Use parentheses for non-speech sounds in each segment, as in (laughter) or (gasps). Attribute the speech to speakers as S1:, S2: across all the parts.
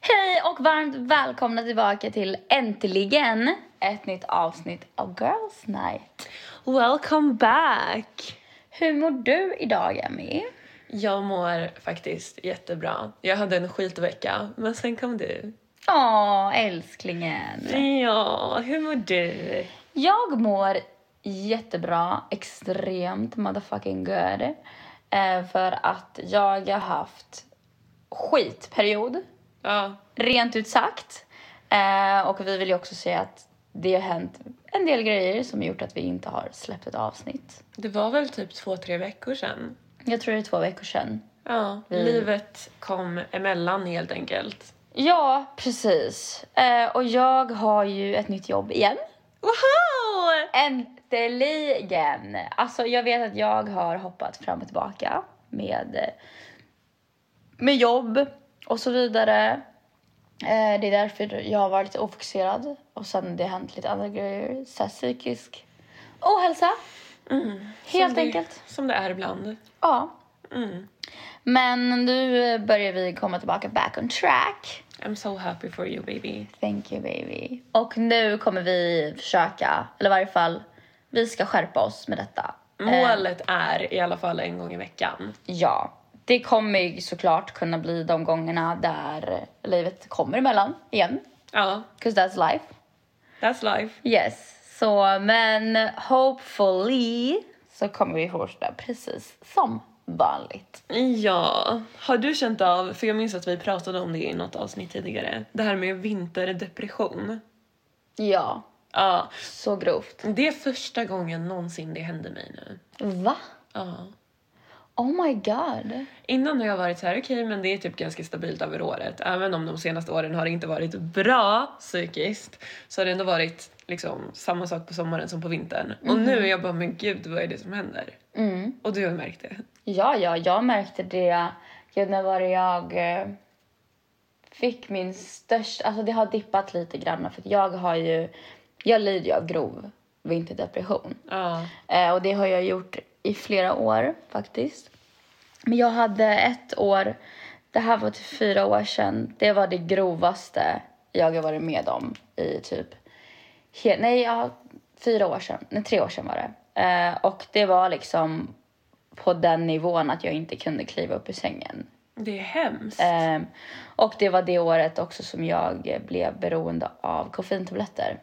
S1: Hej och varmt välkomna tillbaka till äntligen ett nytt avsnitt av Girls Night.
S2: Welcome back!
S1: Hur mår du idag, Emmy?
S2: Jag mår faktiskt jättebra. Jag hade en skitvecka, men sen kom du.
S1: Åh, älsklingen.
S2: Ja, hur mår du?
S1: Jag mår jättebra, extremt motherfucking good. Eh, för att jag har haft skitperiod,
S2: Ja,
S1: rent ut sagt. Eh, och vi vill ju också säga att det har hänt en del grejer som gjort att vi inte har släppt ett avsnitt.
S2: det var väl typ två, tre veckor sedan.
S1: Jag tror det är två veckor sedan.
S2: Ja, livet kom emellan helt enkelt.
S1: Ja, precis. Eh, och jag har ju ett nytt jobb igen.
S2: Wow!
S1: Äntligen! Alltså jag vet att jag har hoppat fram och tillbaka med, eh, med jobb och så vidare. Eh, det är därför jag har varit lite ofokuserad och sen det har hänt lite andra grejer. Så här, psykisk ohälsa. Helt
S2: Mm. Som det-
S1: enkelt.
S2: Som det är ibland.
S1: Ja.
S2: Mm.
S1: Men nu börjar vi komma tillbaka back on track.
S2: I'm so happy for you baby.
S1: Thank you baby. Och nu kommer vi försöka, eller i varje fall, vi ska skärpa oss med detta. Eh,
S2: Målet är i alla fall en gång i veckan.
S1: ja, det kommer ju såklart kunna bli de gångerna där livet kommer emellan igen.
S2: Ja,
S1: Cause that's life.
S2: that's life.
S1: Yes. Så, men hopefully så kommer vi fortsätta precis som vanligt.
S2: Ja, har du känt av, för jag minns att vi pratade om det i något avsnitt tidigare, det här med vinterdepression.
S1: Ja,
S2: Ja,
S1: så grovt.
S2: det är första gången någonsin det hände mig nu.
S1: Va?
S2: Ja.
S1: Oh my god.
S2: Innan har jag varit så här, okej men det är typ ganska stabilt över året. Även om de senaste åren har det inte varit bra psykiskt så har det ändå varit liksom samma sak på sommaren som på vintern. Och nu är jag bara, men gud vad är det som händer?
S1: Mm.
S2: Och du har märkt det.
S1: Ja, ja, jag märkte det. Gud, när var det jag eh, fick min största... Alltså det har dippat lite grann för att jag har ju... Jag lider ju av grov vinterdepression.
S2: Ja.
S1: Eh, och det har jag gjort i flera år faktiskt. Men jag hade ett år, det här var typ fyra år sedan, det var det grovaste jag har varit med om i typ, he- nej ja, fyra år sedan, nej tre år sedan var det. Eh, och det var liksom på den nivån att jag inte kunde kliva upp ur sängen.
S2: Det är hemskt.
S1: Ehm, och det var det året också som jag blev beroende av koffeintabletter.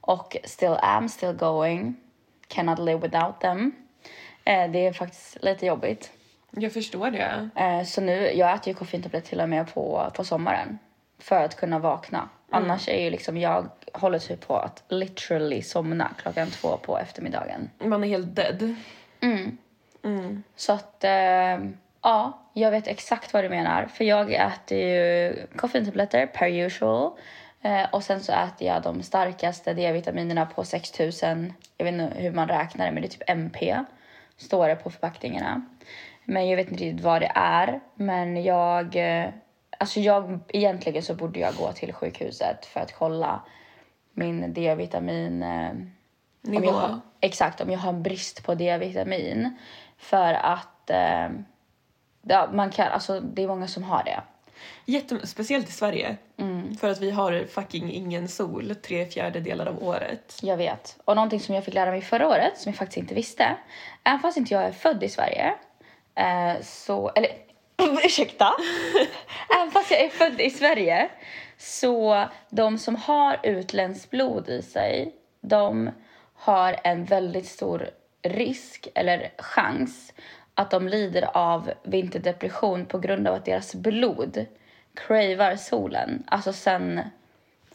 S1: Och still am, still going. Cannot live without them. Eh, det är faktiskt lite jobbigt.
S2: Jag förstår det.
S1: Eh, så nu, jag äter ju koffeintabletter till och med på, på sommaren. För att kunna vakna. Annars är ju liksom, jag håller typ på att literally somna klockan två på eftermiddagen.
S2: Man är helt dead.
S1: Så att, eh, ja, jag vet exakt vad du menar. För jag äter ju koffeintabletter per usual. Eh, och sen så äter jag de starkaste D-vitaminerna på 6000. Jag vet inte hur man räknar det, men det är typ MP. Står det på förpackningarna. Men jag vet inte riktigt vad det är. Men jag, eh, alltså jag, egentligen så borde jag gå till sjukhuset för att kolla min D-vitamin. Eh, om
S2: Nivå.
S1: jag har, exakt, om jag har en brist på D-vitamin. För att eh, ja, man kan, alltså, det är många som har det.
S2: Jättem- speciellt i Sverige. För att vi har fucking ingen sol tre fjärdedelar av året.
S1: Jag vet. Och någonting som jag fick lära mig förra året, som jag faktiskt inte visste. Även fast inte jag är född i Sverige, eh, så... Eller (laughs) ursäkta! även fast jag är född i Sverige, så de som har utländskt blod i sig, de har en väldigt stor risk, eller chans, att de lider av vinterdepression på grund av att deras blod cravar solen. Alltså sen...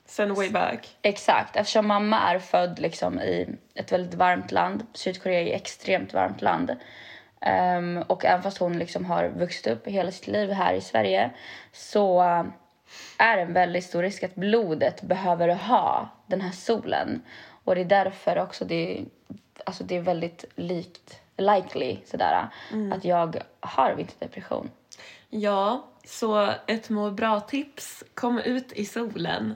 S2: Sen way back.
S1: Exakt, eftersom mamma är född liksom i ett väldigt varmt land. Sydkorea är ett extremt varmt land. Ehm, och även fast hon liksom har vuxit upp hela sitt liv här i Sverige så är det en väldigt stor risk att blodet behöver ha den här solen. Och det är därför också det, alltså det är väldigt likt, likely sådär, att jag har vinterdepression.
S2: Ja, så ett må bra-tips. Kom ut i solen.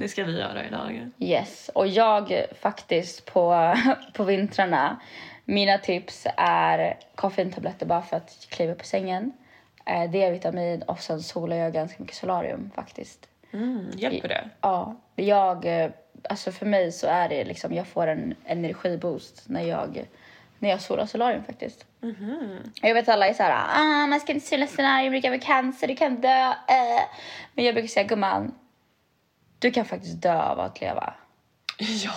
S2: Det ska vi göra idag.
S1: Yes, och jag faktiskt på, (laughs) på vintrarna, mina tips är koffeintabletter bara för att kliva upp i sängen. eh, D-vitamin och sen solar jag ganska mycket solarium faktiskt.
S2: Mm, hjälper det?
S1: Ja, jag, eh, alltså för mig så är det liksom, jag får en energiboost när jag, när jag solar solarium faktiskt. Jag vet alla är så här, ah, man ska inte sola solarium, du kan få cancer, du kan dö. Eh. Men jag brukar säga, gumman, du kan faktiskt dö av att leva.
S2: Ja.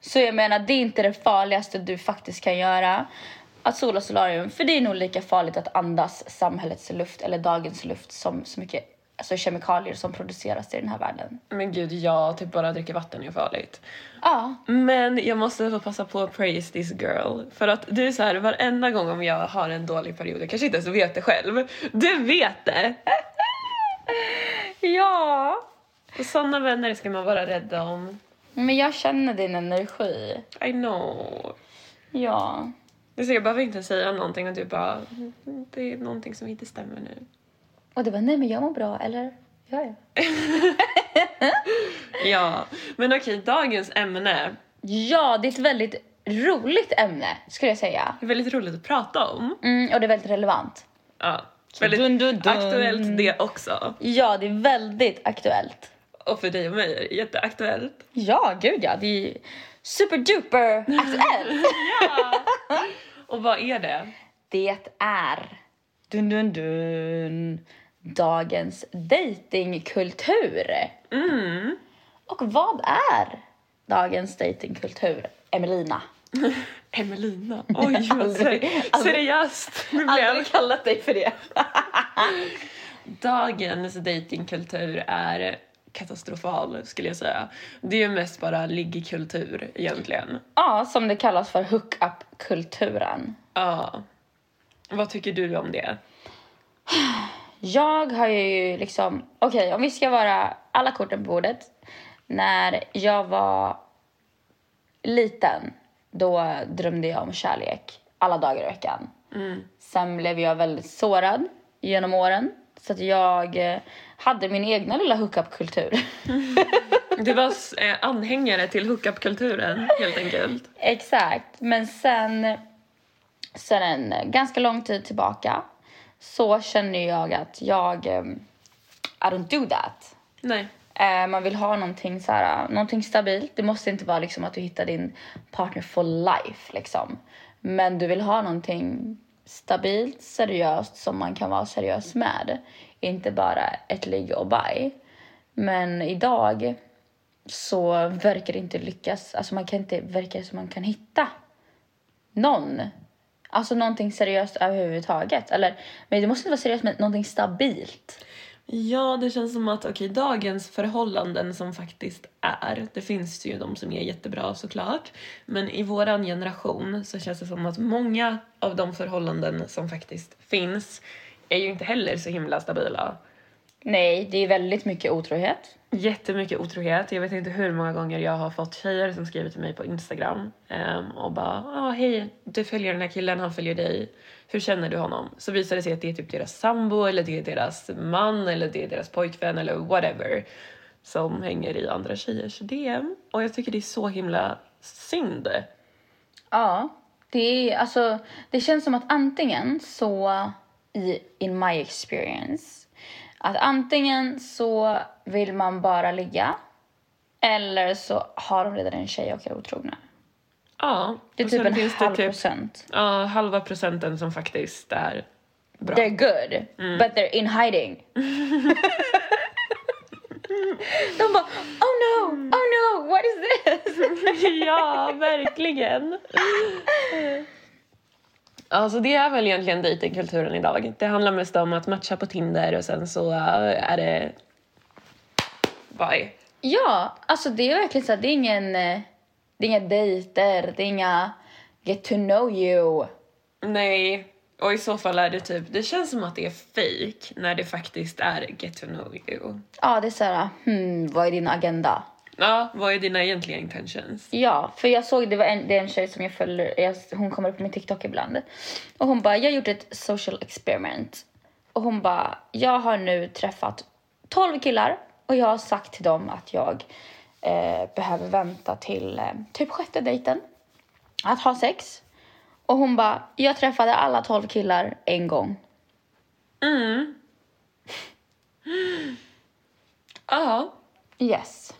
S1: Så jag menar, det är inte det farligaste du faktiskt kan göra. Att sola solarium, för det är nog lika farligt att andas samhällets luft eller dagens luft som så mycket alltså kemikalier som produceras i den här världen.
S2: Men gud, ja, typ bara dricka vatten är ju farligt.
S1: Ja,
S2: Men jag måste få passa på att praise this girl. För att du är så här, varenda gång om jag har en dålig period, jag kanske inte ens vet det själv. Du vet det! (laughs)
S1: Ja!
S2: Och sådana vänner ska man vara rädd om.
S1: Men jag känner din energi.
S2: I know.
S1: Ja.
S2: Det är så jag behöver inte säga någonting och du bara, det är någonting som inte stämmer nu.
S1: Och du bara, nej men jag mår bra, eller? Ja, ja.
S2: Ja, men okej, dagens ämne
S1: Ja, det är ett väldigt roligt ämne, skulle jag säga.
S2: är väldigt roligt att prata om.
S1: Mm, och det är väldigt relevant.
S2: Ja, väldigt
S1: Dun, dun, dun.
S2: aktuellt det också.
S1: Ja, det är väldigt aktuellt.
S2: Och för dig och mig är det jätteaktuellt.
S1: Ja, gud ja. Det är superduper aktuellt.
S2: (laughs) Och vad är det?
S1: det är dun, dun, dun, dagens datingkultur.
S2: Mm.
S1: Och vad är dagens datingkultur, Emelina?
S2: Emelina. Alltså, Oj, vad
S1: Aldrig,
S2: ser-
S1: aldrig.
S2: seriöst nu blev.
S1: Aldrig kallat dig för det.
S2: Dagens datingkultur är katastrofal skulle jag säga. Det är ju mest bara liggkultur egentligen.
S1: Ja, som det kallas för hookup-kulturen.
S2: Ja. Vad tycker du om det?
S1: Jag har ju liksom... Okej, om vi ska vara alla korten på bordet. När jag var liten, då drömde jag om kärlek alla dagar i veckan. Sen blev jag väldigt sårad genom åren. Så att jag eh, hade min egna lilla hookup-kultur. (laughs)
S2: Det var s- eh, anhängare till hookup-kulturen helt enkelt.
S1: Exakt. Men sen, sen en ganska lång tid tillbaka så känner jag att jag... eh, I don't do that.
S2: Nej.
S1: Eh, man vill ha någonting, så här, eh, någonting stabilt. Det måste inte vara liksom, att du hittar din partner for life. Liksom. Men du vill ha någonting stabilt, seriöst, som man kan vara seriös med. Inte bara ett ligg och bye. Men idag så verkar det inte lyckas. Alltså man kan inte verka som man kan hitta någon. Alltså någonting seriöst överhuvudtaget. Eller, men det måste inte vara seriöst, men någonting stabilt.
S2: Ja, det känns som att okej, dagens förhållanden som faktiskt är, det finns ju de som är jättebra såklart, men i våran generation så känns det som att många av de förhållanden som faktiskt finns är ju inte heller så himla stabila.
S1: Nej, det är väldigt mycket otrohet.
S2: Jättemycket otrohet. Jag vet inte hur många gånger jag har fått tjejer som skriver till mig på Instagram ehm, och bara ah, “Hej, du följer den här killen, han följer dig. Hur känner du honom?” Så visar det sig att det är typ deras sambo eller det är deras man eller det är deras pojkvän eller whatever som hänger i andra tjejers DM. Och jag tycker det är så himla synd.
S1: Ja, det är alltså. Det känns som att antingen så i in my experience att antingen så vill man bara ligga eller så har de redan en tjej och är otrogna.
S2: Ja.
S1: Det är
S2: och
S1: typ
S2: sen
S1: en
S2: finns det
S1: halv
S2: typ,
S1: procent.
S2: Ja, halva procenten som faktiskt är bra. Mm.
S1: They're good, but they're in
S2: (laughs)
S1: hiding. de bara oh no, oh no, what is this?
S2: (laughs) ja, verkligen. Alltså det är väl egentligen dejtingkulturen idag. Det handlar mest om att matcha på Tinder och sen så eh, är det... Bye.
S1: Ja, alltså det är verkligen så här, det är ingen, eh, det är inga dejter, det är inga get to know you.
S2: Nej. Och i så fall är det typ... Det känns som att det är fake när det faktiskt är get to know you.
S1: Ja, det är så här, hmm, vad är din agenda?
S2: Ja, vad är dina egentliga intentions?
S1: Ja, för jag såg, det var en, det är en tjej som jag följer, jag, hon kommer upp på min TikTok ibland. Och hon bara, jag har gjort ett social experiment. Och hon bara, jag har nu träffat 12 killar och jag har sagt till dem att jag eh, behöver vänta till eh, typ sjätte dejten att ha sex. Och hon bara, jag träffade alla 12 killar en gång.
S2: Mm. Ja.
S1: Yes.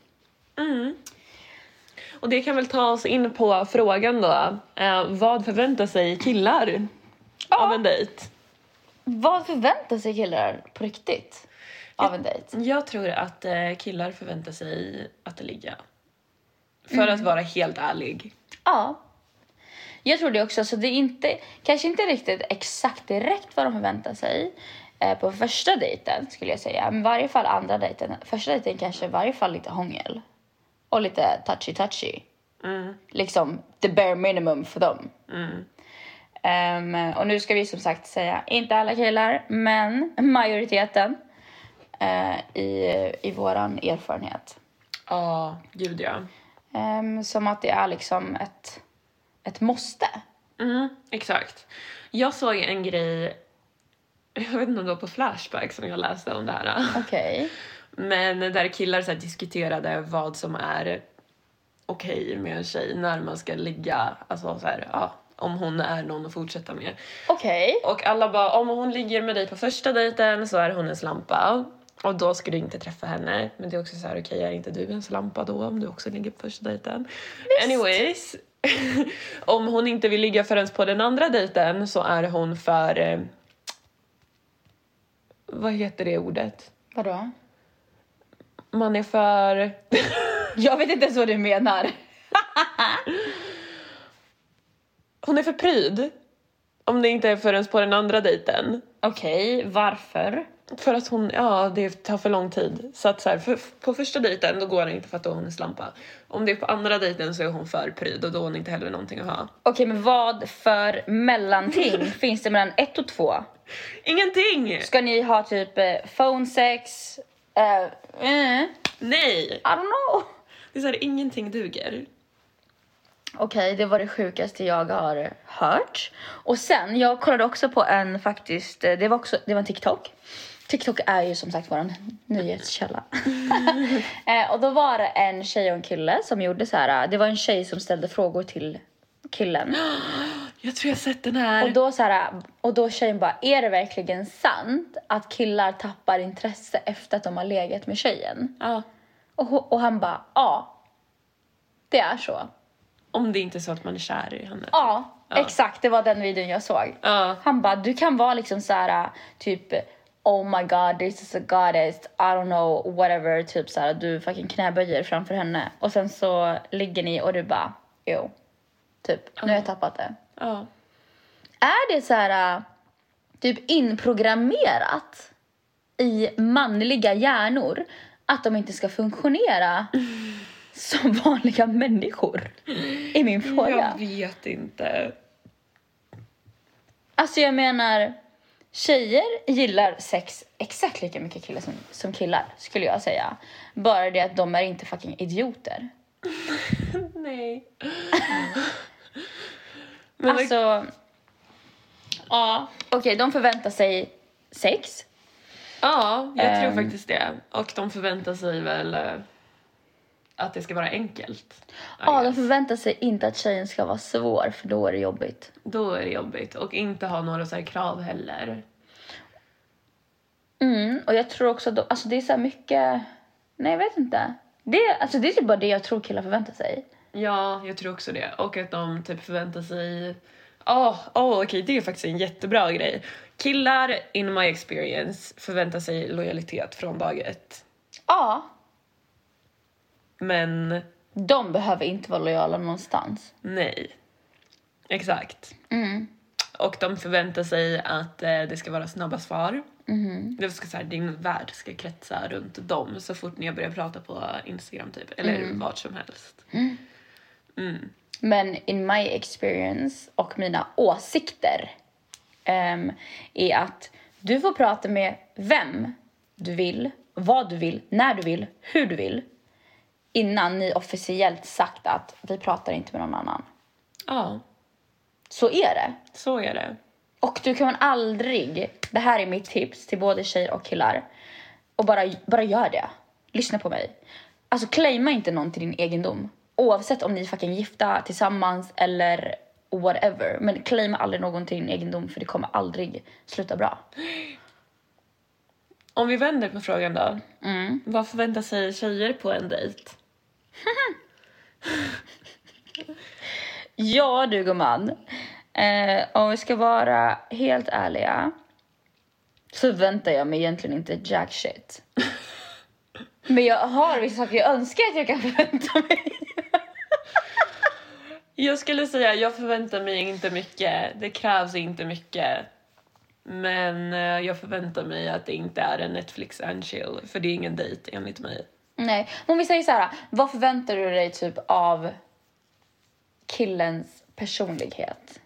S2: Mm. Och det kan väl ta oss in på frågan då. Eh, vad förväntar sig killar av en dejt?
S1: Vad förväntar sig killar på riktigt av en dejt?
S2: Jag tror att eh, killar förväntar sig att ligga. För att vara helt ärlig.
S1: Ja. Jag tror det också. Så det är inte, kanske inte riktigt exakt direkt vad de förväntar sig eh, på första dejten skulle jag säga. Men i varje fall andra dejten. Första dejten kanske i varje fall lite hångel. Och lite touchy-touchy. Liksom the bare minimum för dem. Ehm, och nu ska vi som sagt säga, inte alla killar, men majoriteten eh, i, i våran erfarenhet.
S2: Ja, gud ja.
S1: Ehm, som att det är liksom ett, ett måste.
S2: Mm, exakt. Jag såg en grej, (laughs) jag vet inte om det var på Flashback som jag läste om det här.
S1: Okej.
S2: Men där killar så här diskuterade vad som är okej med en tjej när man ska ligga. Alltså så här, ja, om hon är någon att fortsätta med.
S1: Okej.
S2: Och alla bara, om hon ligger med dig på första dejten så är hon en slampa. Och då ska du inte träffa henne. Men det är också så här, okej är inte du en slampa då om du också ligger på första dejten? Anyways. (laughs) om hon inte vill ligga förrän på den andra dejten så är hon för... Eh, vad heter det ordet?
S1: Vadå?
S2: Man är för...
S1: Jag vet inte ens vad du menar.
S2: Hon är för pryd. Om det inte är förrän på den andra dejten.
S1: Okej, varför?
S2: För att hon, ja det tar för lång tid. Så att så här, för, på första dejten då går det inte för att då hon är slampa. Om det är på andra dejten så är hon för pryd och då har hon inte heller någonting att ha.
S1: Okej, men vad för (laughs) mellanting finns det mellan ett och två?
S2: Ingenting!
S1: Ska ni ha typ eh, phone sex? Eh, eh,
S2: Nej!
S1: I don't know.
S2: Det är så här, ingenting duger.
S1: Okej, det var det sjukaste jag har hört. Och sen, jag kollade också på en faktiskt, eh, det var också, det var en TikTok. TikTok är ju som sagt vår nyhetskälla. eh, och då var det en tjej och en kille som gjorde så här, eh, det var en tjej som ställde frågor till killen.
S2: Jag tror jag har sett den
S1: Och
S2: här.
S1: då, så här, eh, och då tjejen bara, är det verkligen sant att killar tappar intresse efter att de har legat med tjejen?
S2: Ja,
S1: Och, ho- och han bara, ja. Det är så.
S2: om det inte är så att man är kär i henne.
S1: Ja, exakt. Det var den videon jag såg.
S2: Ja.
S1: Han bara, du kan vara liksom så här typ Oh my god, this is a goddess, I don't know, whatever. Typ så här, du fucking knäböjer framför henne. Och sen så ligger ni och du bara, jo. Typ, nu har jag tappat det.
S2: ja.
S1: Är det så här typ inprogrammerat i manliga hjärnor att de inte ska funktionera som vanliga människor? Är min fråga.
S2: Jag vet inte. (laughs)
S1: Alltså jag menar, tjejer gillar sex exakt lika mycket killar som, som killar, skulle jag säga. Bara det att de är inte fucking idioter.
S2: Nej. Men
S1: alltså,
S2: ja.
S1: okej, de förväntar sig sex.
S2: Ja, jag
S1: Ehm.
S2: tror faktiskt det. Och de förväntar sig väl eh, att det ska vara enkelt. I
S1: Ja, de
S2: guess.
S1: förväntar sig inte att tjejen ska vara svår, för då är det jobbigt.
S2: Då är det jobbigt. Och inte ha några så här krav heller.
S1: Mm, och jag tror också att de, alltså det är så här mycket... Nej, jag vet inte. Det, alltså det är typ bara det jag tror killar förväntar sig.
S2: Ja, jag tror också det. Och att de typ förväntar sig... Åh, åh, oh, okej, det är faktiskt en jättebra grej. Killar, in my experience, förväntar sig lojalitet från dag ett.
S1: Ja,
S2: Men
S1: de behöver inte vara lojala någonstans.
S2: nej. Exakt.
S1: Mm.
S2: Och de förväntar sig att eh, det ska vara snabba svar.
S1: Mm-hmm.
S2: Det ska, så här, din värld ska kretsa runt dem så fort ni börjar prata på Instagram typ. Eller
S1: Mm.
S2: vart som helst.
S1: Men in my experience och mina åsikter ehm, är att du får prata med vem du vill, vad du vill, när du vill, hur du vill innan ni officiellt sagt att vi pratar inte med någon annan.
S2: Ja,
S1: Så är det.
S2: så är det.
S1: Och du kan aldrig, det här är mitt tips till både tjejer och killar, och bara, bara gör det. Lyssna på mig. Alltså claima inte någon till din egendom. Oavsett om ni är fucking gifta tillsammans eller whatever. Men claima aldrig någon till din egendom för det kommer aldrig sluta bra.
S2: Om vi vänder på frågan då.
S1: Mm.
S2: Vad förväntar sig tjejer på en dejt?
S1: Ja du gumman. Eh, om vi ska vara helt ärliga så väntar jag mig egentligen inte jack shit. Men jag har vissa saker jag önskar att jag kan förvänta mig.
S2: Jag skulle säga jag förväntar mig inte mycket. Det krävs inte mycket. Men eh, jag förväntar mig att det inte är en Netflix and chill. För det är ingen dejt enligt mig.
S1: Nej, men om vi säger så här. Vad förväntar du dig typ av killens personlighet?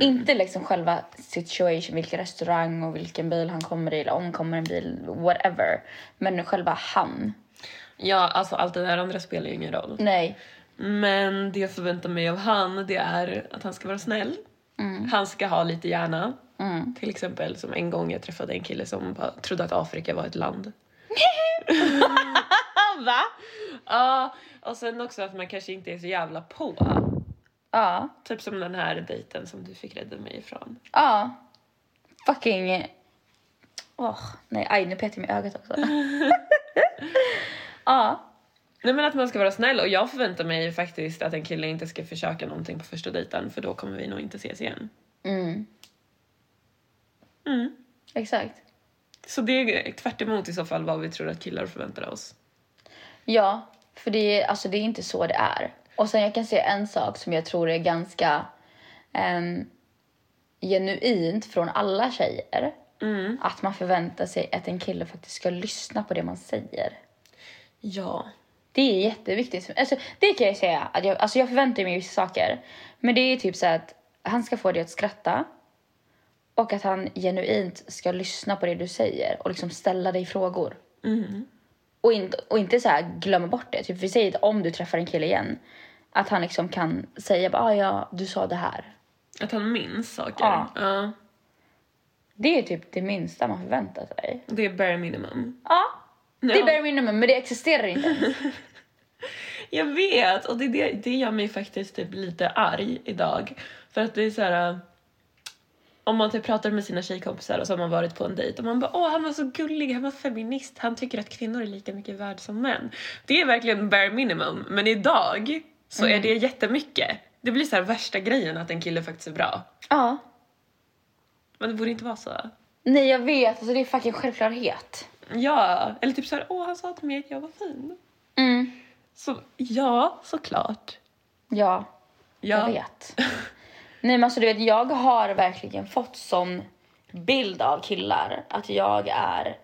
S1: Inte liksom själva situation, vilken restaurang och vilken bil han kommer i eller om kommer en bil, whatever. Men själva han.
S2: Ja, alltså allt det där andra spelar ju ingen roll.
S1: Nej.
S2: Men det jag förväntar mig av han det är att han ska vara snäll. Han ska ha lite hjärna. Till exempel som en gång jag träffade en kille som bara trodde att Afrika var ett land.
S1: Va?
S2: Ja, och sen också att man kanske inte är så jävla på.
S1: Ja.
S2: Typ som den här dejten som du fick rädda mig ifrån.
S1: Ja. Fucking... Åh, nej. Aj, nu petar jag mig i ögat (laughs) också. ja.
S2: Nej men att man ska vara snäll och jag förväntar mig faktiskt att en kille inte ska försöka någonting på första dejten för då kommer vi nog inte ses igen.
S1: Mm.
S2: Mm.
S1: Exakt.
S2: Så det är tvärt emot i så fall vad vi tror att killar förväntar oss.
S1: Ja, för det är, alltså, det är inte så det är. Och sen jag kan säga en sak som jag tror är ganska ehm, genuint från alla tjejer.
S2: Mm.
S1: Att man förväntar sig att en kille faktiskt ska lyssna på det man säger.
S2: Ja.
S1: Det är jätteviktigt. Alltså, det kan jag säga. Att jag, alltså, jag förväntar mig vissa saker. Men det är typ så här att han ska få dig att skratta. Och att han genuint ska lyssna på det du säger och liksom ställa dig frågor.
S2: Mm.
S1: Och, inte och inte så här glömma bort det. Typ, vi säger att om du träffar en kille igen. Att han liksom kan säga bara, ah, ja, du sa det här.
S2: Att han minns saker.
S1: Ja.
S2: Ja.
S1: Det är typ det minsta man förväntar sig.
S2: Det är bare minimum.
S1: Ja, det är
S2: Ja.
S1: bare minimum, men det existerar inte.
S2: Jag vet! Och det, det, det gör mig faktiskt typ lite arg idag. För att det är så här... äh, Om man typ pratar med sina tjejkompisar och så har man varit på en dejt och man bara åh han var så gullig, han var feminist, han tycker att kvinnor är lika mycket värd som män. Det är verkligen bare minimum. Men idag så är det jättemycket. Det blir så här värsta grejen att en kille faktiskt är bra.
S1: ja.
S2: Men det borde inte vara så.
S1: Nej, jag vet. Alltså, det är fucking självklarhet.
S2: Ja, eller typ så här åh han sa till mig att jag var fin.
S1: Mm.
S2: Så ja, såklart.
S1: Ja.
S2: Ja.
S1: Jag vet. Nej men alltså du vet, jag har verkligen fått sån bild av killar. Att jag är...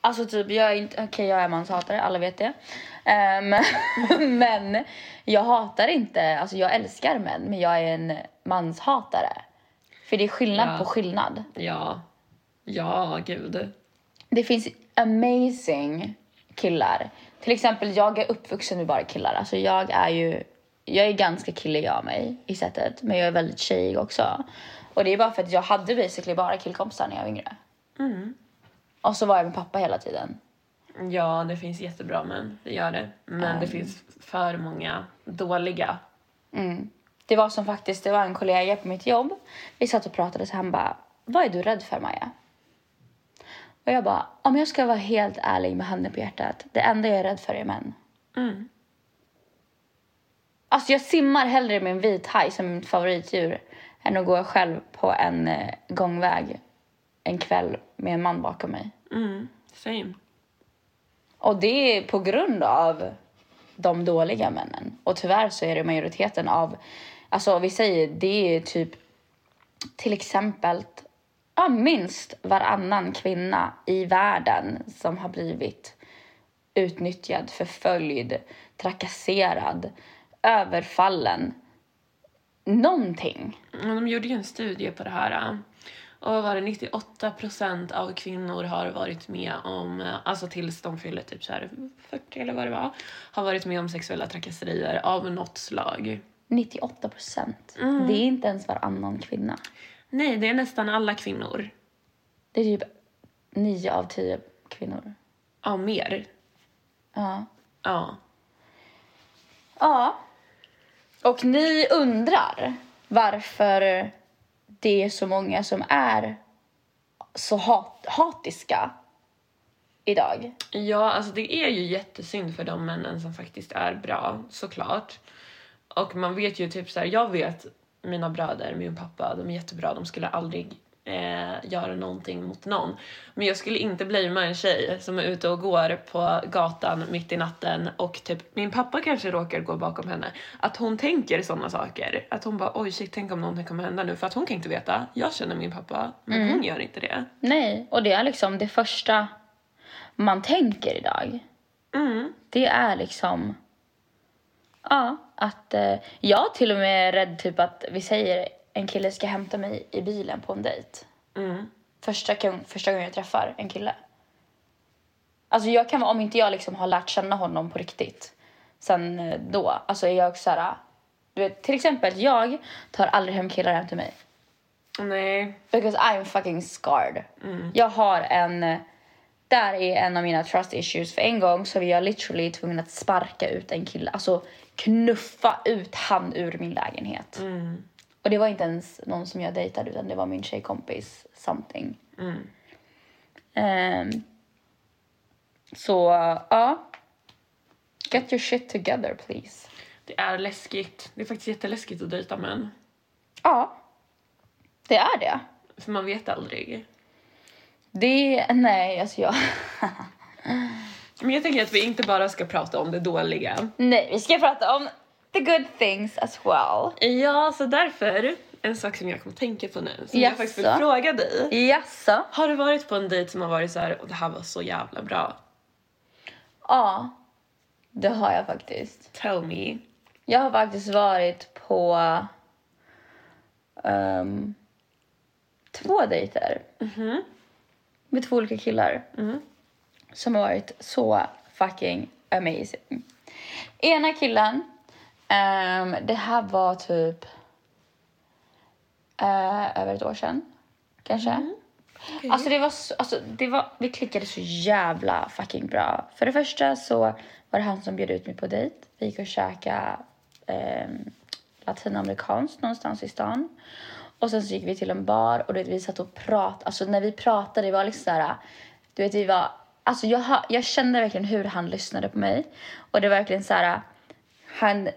S1: Alltså typ, jag är inte... Okej, jag är manshatare, alla vet det. Ehm, (laughs) men jag hatar inte... Alltså jag älskar män, men jag är en manshatare. För det är skillnad
S2: Ja.
S1: på skillnad.
S2: Ja. Ja, gud.
S1: Det finns amazing killar. Till exempel, jag är uppvuxen med bara killar. Alltså jag är ju... Jag är ganska killig av mig i sättet, men jag är väldigt tjejig också. Och det är bara för att jag hade basically bara killkompisar när jag var yngre. Och så var jag med pappa hela tiden.
S2: Ja, det finns jättebra män. Det gör det. Men det finns för många dåliga.
S1: Mm. Det var som faktiskt, det var en kollega på mitt jobb. Vi satt och pratade så han bara, vad är du rädd för Maja? Och jag bara, om jag ska vara helt ärlig med handen på hjärtat, det enda jag är rädd för är män.
S2: Mm.
S1: Alltså jag simmar hellre med en vit haj som mitt favoritdjur än att gå själv på en eh, gångväg en kväll med en man bakom mig.
S2: Mm. Same.
S1: Och det är på grund av de dåliga männen. Och tyvärr så är det majoriteten av, alltså vi säger det är typ till exempel ja, minst varannan kvinna i världen som har blivit utnyttjad, förföljd, trakasserad, överfallen. Någonting.
S2: Men De gjorde ju en studie på det här. äh, Och vad var det 98 procent av kvinnor har varit med om, äh, alltså tills de fyller typ så här 40 eller vad det var, har varit med om sexuella trakasserier av något slag.
S1: 98 procent. Det är inte ens varannan kvinna.
S2: Nej, det är nästan alla kvinnor.
S1: Det är typ nio av tio kvinnor.
S2: Ja, mer.
S1: Ja.
S2: Ja.
S1: Ja. Och ni undrar varför det är så många som är så hat, hatiska idag.
S2: Ja, alltså det är ju jättesynd för de männen som faktiskt är bra, såklart. Och man vet ju typ så här, jag vet mina bröder, min pappa, de är jättebra, de skulle aldrig eh, göra någonting mot någon. Men jag skulle inte blamea en tjej som är ute och går på gatan mitt i natten och typ min pappa kanske råkar gå bakom henne. Att hon tänker sådana saker. Att hon bara oj shit, tänk om någonting kommer hända nu. För att hon kan inte veta. Jag känner min pappa, men hon gör inte det.
S1: Nej, och det är liksom det första man tänker idag.
S2: Mm.
S1: Det är liksom... Ja, att eh, jag är till och med rädd typ att vi säger en kille ska hämta mig i bilen på en dejt.
S2: Mm.
S1: Första, gång- första gången jag träffar en kille. Alltså jag kan vara- om inte jag liksom har lärt känna honom på riktigt sen eh, då, alltså är jag också så här, du vet, till exempel jag tar aldrig hem killar hem till mig.
S2: Nej.
S1: Because I'm fucking scarred. Jag har en... Där är en av mina trust issues. För en gång så var jag literally tvungen att sparka ut en kille. Alltså knuffa ut han ur min lägenhet.
S2: Mm.
S1: Och det var inte ens någon som jag dejtade utan det var min tjejkompis something. Ehm, så ja. Get your shit together please.
S2: Det är läskigt. Det är faktiskt jätteläskigt att dejta män.
S1: Ja. Det är det.
S2: För man vet aldrig.
S1: Det, nej alltså jag. (laughs)
S2: Men jag tänker att vi inte bara ska prata om det dåliga.
S1: Nej, vi ska prata om the good things as well.
S2: Ja, så därför en sak som jag kommer att tänka på nu som jag
S1: Jaså?
S2: faktiskt vill fråga dig.
S1: Jaså?
S2: Har du varit på en dejt som har varit så här och det här var så jävla bra?
S1: Ja, det har jag faktiskt.
S2: Tell me.
S1: Jag har faktiskt varit på ehm, två dejter med två olika killar som har varit så fucking amazing. Ena killen, ehm, det här var typ eh, över ett år sedan kanske. Alltså det var, så, alltså det var, vi klickade så jävla fucking bra. För det första så var det han som bjöd ut mig på dejt. Vi gick och käkade ehm, latinamerikanskt någonstans i stan. Och sen så gick vi till en bar och du vet, vi satt och pratade. Alltså när vi pratade, det var liksom såhär, du vet vi var, alltså jag, hör- jag kände verkligen hur han lyssnade på mig. Och det var verkligen så här. han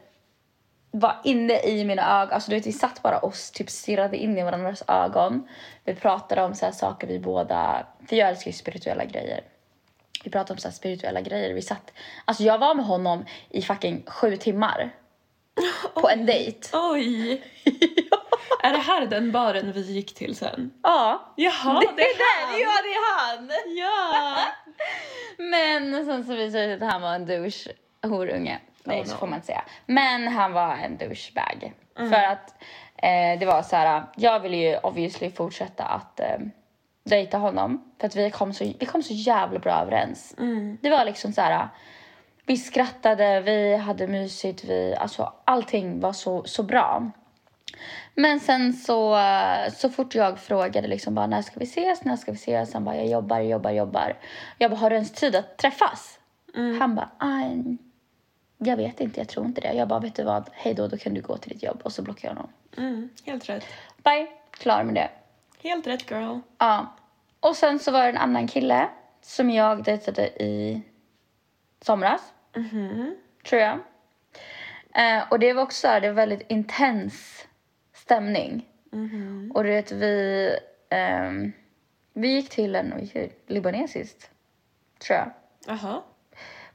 S1: var inne i mina ögon. Alltså du vet, vi satt bara och typ stirrade in i varandras ögon. Vi pratade om så här saker vi båda... För jag älskar ju spirituella grejer. Vi pratade om så här spirituella grejer. Vi satt... Alltså jag var med honom i fucking sju timmar. På en
S2: (laughs)
S1: dejt.
S2: Oj! Är det här den baren vi gick till sen?
S1: Ja.
S2: Jaha, det,
S1: Det
S2: är
S1: där,
S2: han!
S1: ja det är han!
S2: (laughs) Ja!
S1: Men sen så visade det sig att han var en douche horunge. Nej,
S2: Oh no. Mm.
S1: så får man inte säga. Men han var en douchebag. För att eh, det var så här, jag ville ju obviously fortsätta att eh, dejta honom. För att vi kom så, vi kom så jävla bra överens.
S2: Mm,
S1: Det var liksom så här, vi skrattade, vi hade mysigt, vi, alltså allting var så, så bra. Men sen så, eh, så fort jag frågade liksom bara, när ska vi ses, när ska vi ses? Han bara, jag jobbar, jobbar, jobbar. Jag bara, har du ens tid att träffas? Han bara, "Aj, jag vet inte, jag tror inte det. Jag bara, vet du vad, hej då, då kan du gå till ditt jobb. Och så blockade jag honom.
S2: Mm, helt rätt.
S1: Bye, klar med det.
S2: Helt rätt girl.
S1: Ja. Och sen så var det en annan kille som jag dejtade i somras. Tror jag. Eh, och det var också så här, det var väldigt intens stämning. Och du vet, vi... ehm, vi gick till en vi gick till libanesiskt, tror jag
S2: Jaha.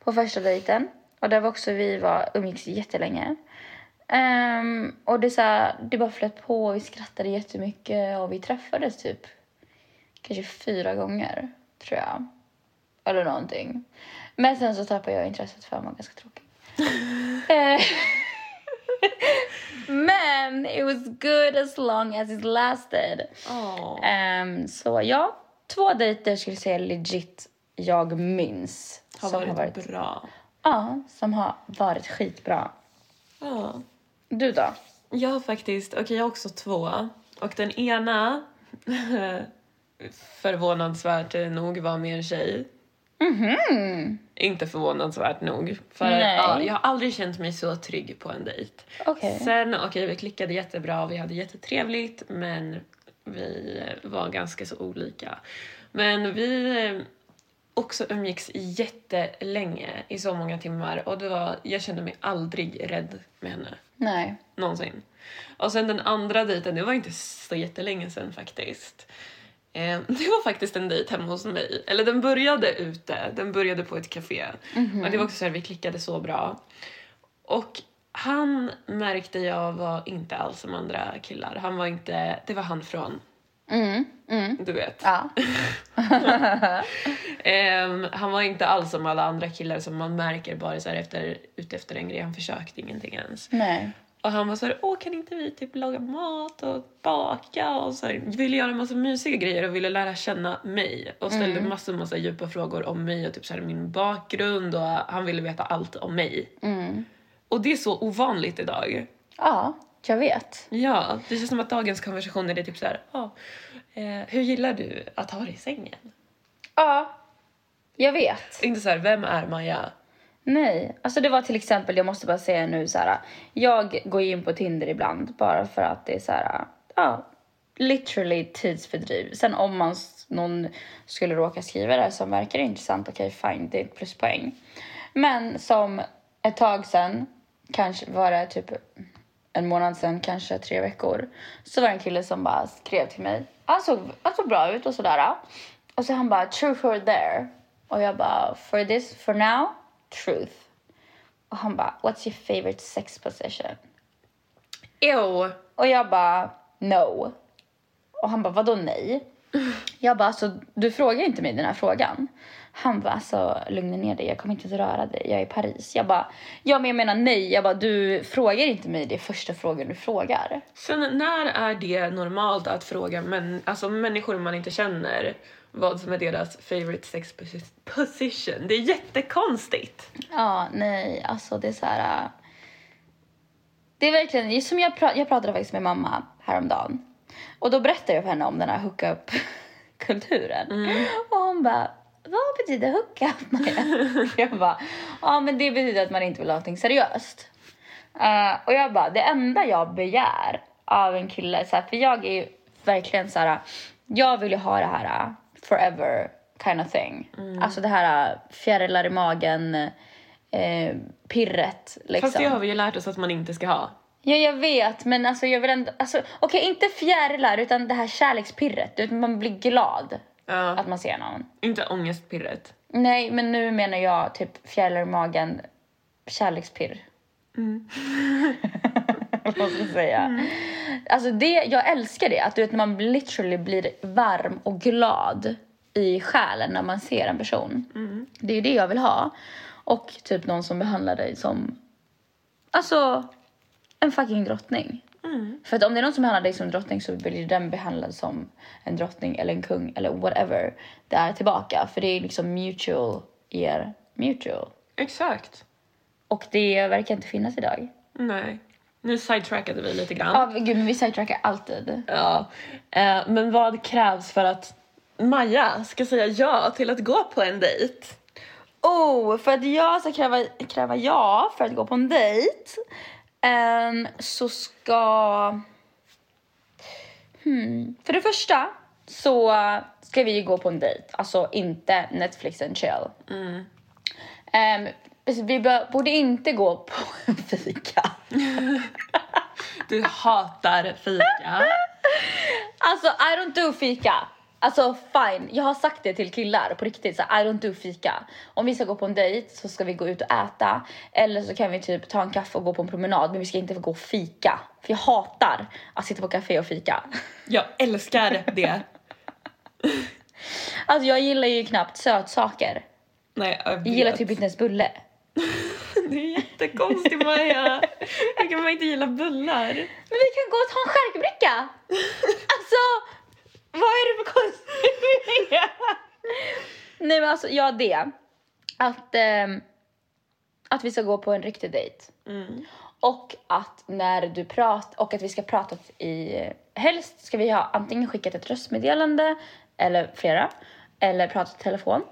S1: på första dejten. Och där var också vi var, umgicks jättelänge. Ehm, och det, så här, det bara flöt på och vi skrattade jättemycket och vi träffades typ kanske fyra gånger tror jag. Eller någonting. Men sen så tappade jag intresset för han var ganska
S2: (laughs)
S1: tråkig. Eh, (laughs) Men it was good as long as it lasted.
S2: Åh.
S1: Ehm, så ja, två dejter skulle jag säga legit jag minns.
S2: Har
S1: som
S2: varit, bra.
S1: Ja, som har varit skitbra.
S2: Ja.
S1: Du då?
S2: Jag har faktiskt, okej jag har också två. Och den ena, (laughs) förvånansvärt nog, var med en tjej. Inte förvånansvärt nog. För
S1: Mhm. Nej.
S2: ja, jag har aldrig känt mig så trygg på en dejt.
S1: Okej.
S2: Sen, okej vi klickade jättebra, vi hade jättetrevligt men vi var ganska så olika. Men vi eh, också umgicks jättelänge i så många timmar och det var, jag kände mig aldrig rädd med henne.
S1: Nej.
S2: Någonsin. Och sen den andra dejten, det var inte så jättelänge sen faktiskt. Eh, (laughs) Det var faktiskt en dejt hemma hos mig. Eller den började ute, den började på ett café.
S1: Mhm.
S2: Och det var också så här, vi klickade så bra. Och han märkte jag var inte alls som andra killar. Han var inte, det var han från,
S1: Mm, mm.
S2: du vet.
S1: Ja.
S2: Ehm, han var inte alls som alla andra killar som man märker bara så här efter, ute efter en grej. Han försökte ingenting ens.
S1: Nej.
S2: Och han var så här, åh kan inte vi typ laga mat och baka och så här, ville göra en massa mysiga grejer och ville lära känna mig och ställde massor, massa djupa frågor om mig och typ så här min bakgrund och han ville veta allt om mig.
S1: Mm.
S2: Och det är så ovanligt idag.
S1: Ja, jag vet.
S2: Ja, det känns som att dagens konversationer är typ så här, "Ja, eh, hur gillar du att ha dig i sängen?
S1: Ja, jag vet.
S2: Inte så här, vem är Maja?
S1: Nej, alltså det var till exempel, jag måste bara säga nu så här. Jag går ju in på Tinder ibland bara för att det är så här, ja, literally tidsfördriv. Sen om man s- någon skulle råka skriva det som verkar intressant, okej fine, det är ett pluspoäng. Men som ett tag sen, kanske var det typ en månad sen, kanske tre veckor, så var det en kille som bara skrev till mig. Han såg, han såg bra ut och sådär. Och så han bara “true for there” och jag bara “for this, for now, truth”. Och han bara “what's your favorite sex position?”
S2: Ew!
S1: Och jag bara no. Och han bara vadå nej? Jag bara alltså du frågar inte mig den här frågan. Han bara alltså lugna ner dig, jag kommer inte att röra dig, jag är i Paris. Jag bara ja men jag menar nej, jag bara du frågar inte mig det första frågan du frågar.
S2: Sen när är det normalt att fråga män, alltså människor man inte känner vad som är deras favorite sex posi- position? Det är jättekonstigt.
S1: Ja nej alltså det är så här. äh, Det är verkligen, det är som jag, pra- jag pratade faktiskt med mamma häromdagen. Och då berättade jag för henne om den här hookup-kulturen. Och hon bara, vad betyder hookup (laughs) Maja? jag bara, ja men det betyder att man inte vill ha någonting seriöst. Eh, och jag bara, det enda jag begär av en kille, så här, för jag är ju verkligen så här, jag vill ju ha det här eh, forever kind of thing. Alltså det här eh, fjärilar i magen, eh, pirret liksom.
S2: Fast det har vi ju lärt oss att man inte ska ha.
S1: Ja, jag vet, men alltså jag vill ändå... Alltså, Okej, inte fjärilar, utan det här kärlekspirret. Utan man blir glad
S2: Ja.
S1: att man ser någon.
S2: Inte ångestpirret.
S1: Nej, men nu menar jag typ fjärilar i magen, kärlekspirr. (laughs) Vad ska jag säga? Alltså det, jag älskar det, att du vet när man literally blir varm och glad i själen när man ser en person. Det är ju det jag vill ha. Och typ någon som behandlar dig som, alltså en fucking drottning. För att om det är någon som behandlar dig som drottning så blir den behandlad som en drottning eller en kung eller whatever det är tillbaka. För det är liksom mutual er mutual.
S2: Exakt.
S1: Och det verkar inte finnas idag.
S2: Nej. Nu sidetrackade vi lite grann.
S1: Ja, men gud, men vi sidetrackar alltid.
S2: Ja. Eh, men vad krävs för att Maja ska säga ja till att gå på en dejt?
S1: Oh, för att jag ska kräva, kräva ja för att gå på en dejt ehm, så ska... Hmm. För det första så ska vi ju gå på en dejt, alltså inte Netflix and chill. Ehm, vi bör- borde inte gå på (laughs) en fika.
S2: Du hatar fika.
S1: (laughs) Alltså I don't do fika. Alltså fine, jag har sagt det till killar på riktigt så I don't do fika. Om vi ska gå på en dejt så ska vi gå ut och äta eller så kan vi typ ta en kaffe och gå på en promenad men vi ska inte få gå och fika. För jag hatar att sitta på café och fika. (laughs)
S2: Jag älskar det.
S1: Alltså jag gillar ju knappt sötsaker.
S2: Nej,
S1: Jag gillar typ inte ens bulle.
S2: Du är jättekonstig Maja. Hur kan man inte gilla bullar?
S1: Men vi kan gå och ta en charkbricka! Alltså, (laughs) vad är det för konstigt med det? Nej men alltså, ja det. Att, ehm, att vi ska gå på en riktig dejt. Och att när du pratar, och att vi ska prata i, helst ska vi ha antingen skickat ett röstmeddelande eller flera, eller prata i telefon.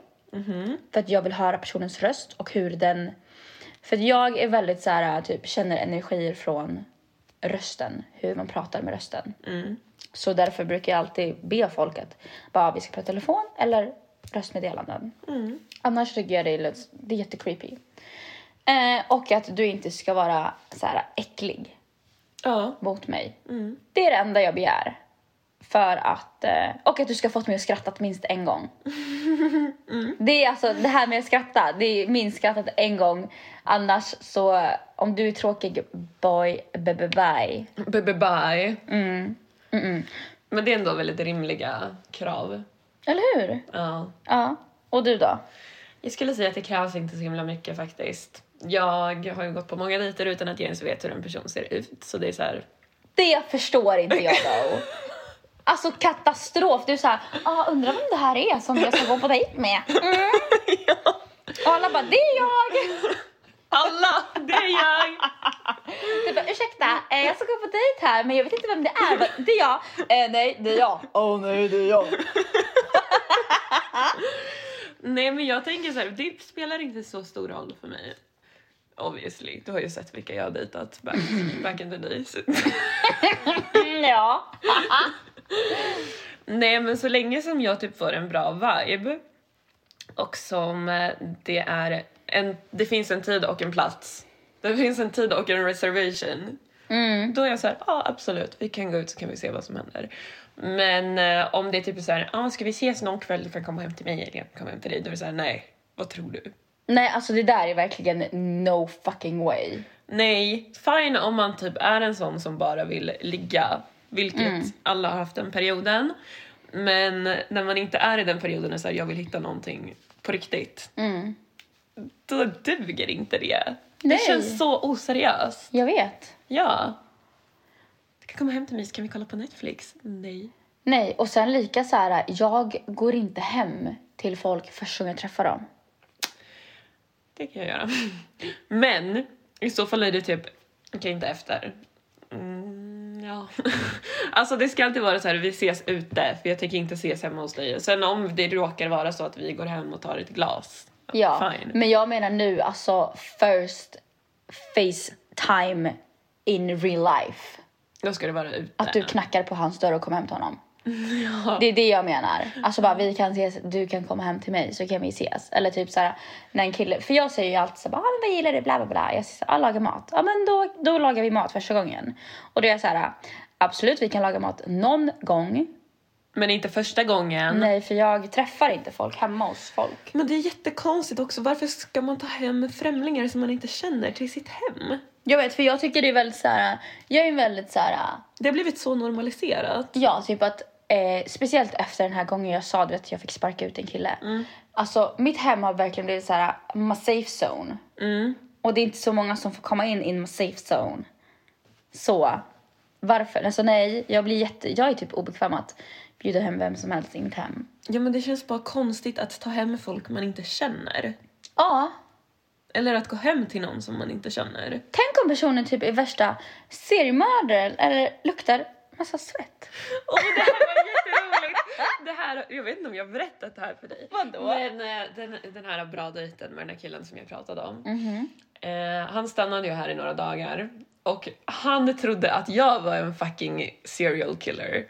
S1: För att jag vill höra personens röst och hur den, för att jag är väldigt så här typ känner energier från rösten, hur man pratar med rösten.
S2: Mm.
S1: Så därför brukar jag alltid be folk att bara vi ska prata telefon eller röstmeddelanden.
S2: Mm.
S1: Annars tycker jag det är, lite, det är jättecreepy. Eh, och att du inte ska vara så här äcklig
S2: Ja.
S1: mot mig.
S2: Mm.
S1: Det är det enda jag begär. För att, eh, och att du ska ha fått mig att skratta minst en
S2: (laughs)
S1: gång.
S2: Mm.
S1: Det är alltså det här med att skratta. Det är minst skrattat en gång. Annars så, om du är tråkig, boy, bye, bye, bye.
S2: Bye, bye.
S1: Mm. Mm-mm.
S2: Men det är ändå väldigt rimliga krav.
S1: Eller hur?
S2: Ja.
S1: Ja. Och du då?
S2: Jag skulle säga att det krävs inte så himla mycket faktiskt. Jag har ju gått på många dejter utan att jag ens vet hur en person ser ut. Så det är så här...
S1: Det förstår inte jag då. Alltså katastrof. Du är såhär, ah, undrar vem det här är som jag ska gå på dejt (laughs) med. Mm. Och alla bara, det är jag!
S2: Alla! Det är jag!
S1: Du bara, ursäkta, eh, jag ska gå på dejt här men jag vet inte vem det är. Jag Bara, det är jag. Eh, nej, det är jag. Åh oh, nej, det är jag.
S2: Nej men jag tänker så här, det spelar inte så stor roll för mig. Obviously. Du har ju sett vilka jag har dejtat back, back in the days.
S1: Mm, ja.
S2: Nej men så länge som jag typ får en bra vibe och som eh, det är en, det finns en tid och en plats. Det finns en tid och en reservation.
S1: Mm.
S2: Då är jag så här, ja absolut, vi kan gå ut så kan vi se vad som händer. Men eh, om det är typ så här, ah, ska vi ses någon kväll, du kan komma hem till mig eller jag kan komma hem till dig. Då är det så här, nej, vad tror du?
S1: Nej, alltså det där är verkligen no fucking way.
S2: Nej, fine om man typ är en sån som bara vill ligga, vilket alla har haft den perioden. Men när man inte är i den perioden och säger jag vill hitta någonting på riktigt,
S1: Mm.
S2: då duger inte det.
S1: Nej.
S2: Det känns så oseriöst.
S1: Jag vet.
S2: Ja. Du kan komma hem till mig så kan vi kolla på Netflix. Nej.
S1: Nej, och sen lika så här, jag går inte hem till folk förrän jag träffar dem.
S2: Det kan jag göra. Men i så fall är det typ, okej inte efter. Mm, ja. (laughs) Alltså det ska alltid vara så här, vi ses ute för jag tänker inte ses hemma hos dig. Sen om det råkar vara så att vi går hem och tar ett glas.
S1: Ja,
S2: Fine.
S1: men jag menar nu alltså first facetime in real life.
S2: Då ska det vara ute.
S1: Att du knackar på hans dörr och kommer hem till (laughs) honom. Det är det jag menar. Alltså bara vi kan ses, du kan komma hem till mig så kan vi ses. Eller typ så här när en kille, för jag säger ju alltid så här, bara, ah, men vad gillar du, bla bla bla. Jag säger så här, ah, laga mat. Ja men då, då lagar vi mat första gången. Och då är jag så här, absolut vi kan laga mat någon gång.
S2: Men inte första gången.
S1: Nej för jag träffar inte folk hemma hos folk.
S2: Men det är jättekonstigt också, varför ska man ta hem främlingar som man inte känner till sitt hem?
S1: Jag vet för jag tycker det är väldigt så här, jag är en väldigt så här
S2: Det har blivit så normaliserat.
S1: Ja, typ att eh, speciellt efter den här gången jag sa du vet, att jag fick sparka ut en kille. Alltså mitt hem har verkligen blivit så här my safe zone.
S2: Mm.
S1: Och det är inte så många som får komma in in my safe zone. Så varför? Alltså nej, jag blir jätte, jag är typ obekväm att bjuda hem vem som helst i mitt hem.
S2: Ja men det känns bara konstigt att ta hem folk man inte känner.
S1: Ja,
S2: Eller att gå hem till någon som man inte känner.
S1: tänk om personen typ är värsta seriemördaren eller luktar massa svett.
S2: Och det här var jätteroligt! Det här, jag vet inte om jag har berättat det här för dig.
S1: Vadå?
S2: Men eh, den, den här bra dejten med den här killen som jag pratade om. Eh, han stannade ju här i några dagar och han trodde att jag var en fucking serial killer.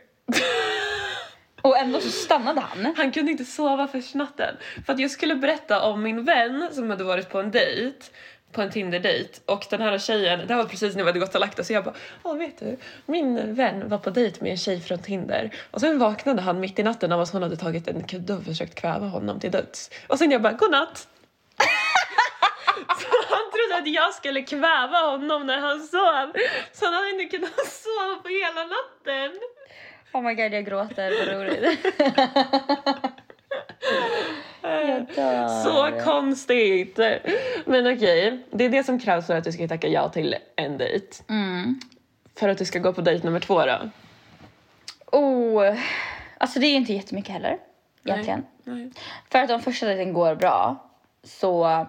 S1: Och ändå så stannade han.
S2: Han kunde inte sova första natten. För att jag skulle berätta om min vän som hade varit på en dejt på en Tinder-dejt och den här tjejen, det här var precis när vi hade gått och lagt oss så jag bara ja vet du, min vän var på dejt med en tjej från Tinder och sen vaknade han mitt i natten av att hon hade tagit en kudde och försökt kväva honom till döds och sen jag bara godnatt! (laughs) så han trodde att jag skulle kväva honom när han sov så han hade inte kunnat (laughs) sova på hela natten.
S1: Oh my god, jag gråter, vad
S2: (laughs)
S1: roligt. jag dör.
S2: Så konstigt! Men okej, det är det som krävs för att du ska tacka ja till en dejt.
S1: Mm.
S2: För att du ska gå på dejt nummer två då?
S1: Oh, alltså det är ju inte jättemycket heller. Egentligen.
S2: Nej.
S1: För att om första dejten går bra så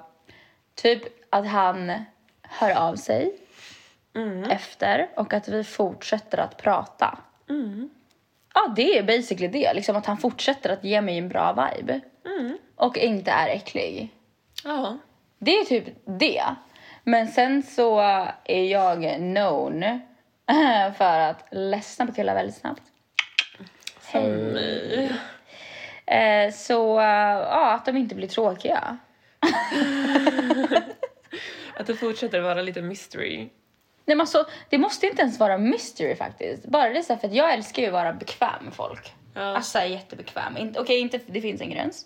S1: typ att han hör av sig
S2: Mm.
S1: efter och att vi fortsätter att prata.
S2: Mm.
S1: Ja, det är basically det. Liksom att han fortsätter att ge mig en bra vibe
S2: Mm.
S1: och inte är äcklig.
S2: Ja.
S1: Det är typ det. Men sen så är jag known (laughs) För att ledsna på killar väldigt snabbt.
S2: Som mig.
S1: Eh, så eh, ja, att de inte blir tråkiga.
S2: Att det fortsätter vara lite mystery.
S1: Nej, men alltså, det måste inte ens vara mystery faktiskt. Bara det är så här, för att jag älskar ju att vara bekväm med folk.
S2: Ja.
S1: Alltså så här, jättebekväm. Inte- Okej, inte, det finns en gräns.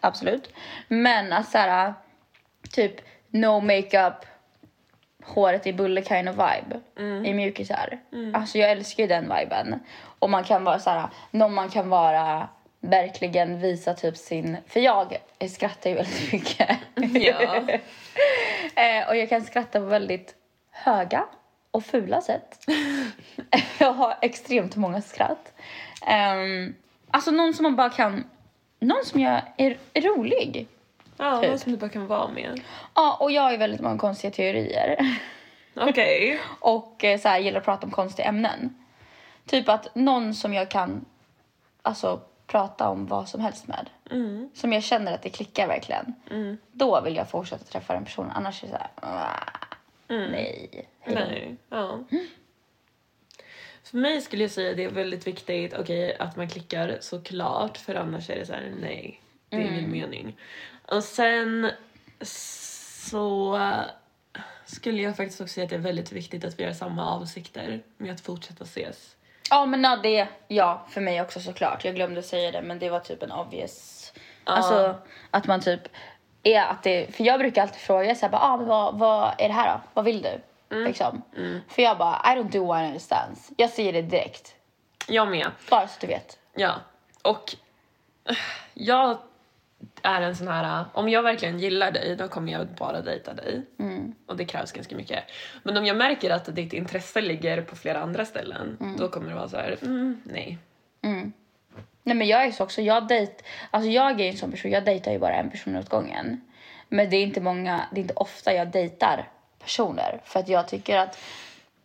S1: Absolut. Men att så här, typ no makeup, håret i bulle kind of vibe i mjukisar. Alltså jag älskar ju den viben. Och man kan vara så här, någon man kan vara verkligen visa typ sin, för jag skrattar ju väldigt mycket.
S2: Ja.
S1: (laughs) Eh, och jag kan skratta på väldigt höga och fula sätt. (laughs) jag har extremt många skratt. Ehm, alltså någon som man bara kan, någon som jag är, är rolig.
S2: Ja,
S1: Typ.
S2: någon som du bara kan vara med.
S1: Ja, och jag har ju väldigt många konstiga teorier. (laughs)
S2: Okej.
S1: och eh, så här, gillar att prata om konstiga ämnen. Typ att någon som jag kan alltså, prata om vad som helst med.
S2: Mm.
S1: Som jag känner att det klickar verkligen.
S2: Mm.
S1: Då vill jag fortsätta träffa den personen. Annars är det så här...
S2: Mm.
S1: "Ah, Nej. hej då."
S2: Nej. Ja. För mig skulle jag säga att det är väldigt viktigt okej, att man klickar såklart för annars är det så här nej. Det är ingen mening. Och sen så skulle jag faktiskt också säga att det är väldigt viktigt att vi har samma avsikter med att fortsätta ses.
S1: Ja, men ja, det... Ja, för mig också såklart. Jag glömde säga det, men det var typ en obvious... Alltså, att man typ... Är att det, för jag brukar alltid fråga så här, bara, ah, men vad, vad är det här då? Vad vill du?
S2: Mm.
S1: Liksom. För jag bara, I don't do one night stands. Jag säger det direkt.
S2: Jag med.
S1: Bara så att du vet.
S2: Ja. Och eh, jag är en sån här... eh, Om jag verkligen gillar dig, då kommer jag bara dejta dig. Och det krävs ganska mycket. Men om jag märker att ditt intresse ligger på flera andra ställen, då kommer det vara så här... Mm, nej. (laughs)
S1: Nej men jag är så också, jag dejt, alltså jag är en sån person, jag dejtar ju bara en person åt gången. Men det är inte många, det är inte ofta jag dejtar personer för att jag tycker att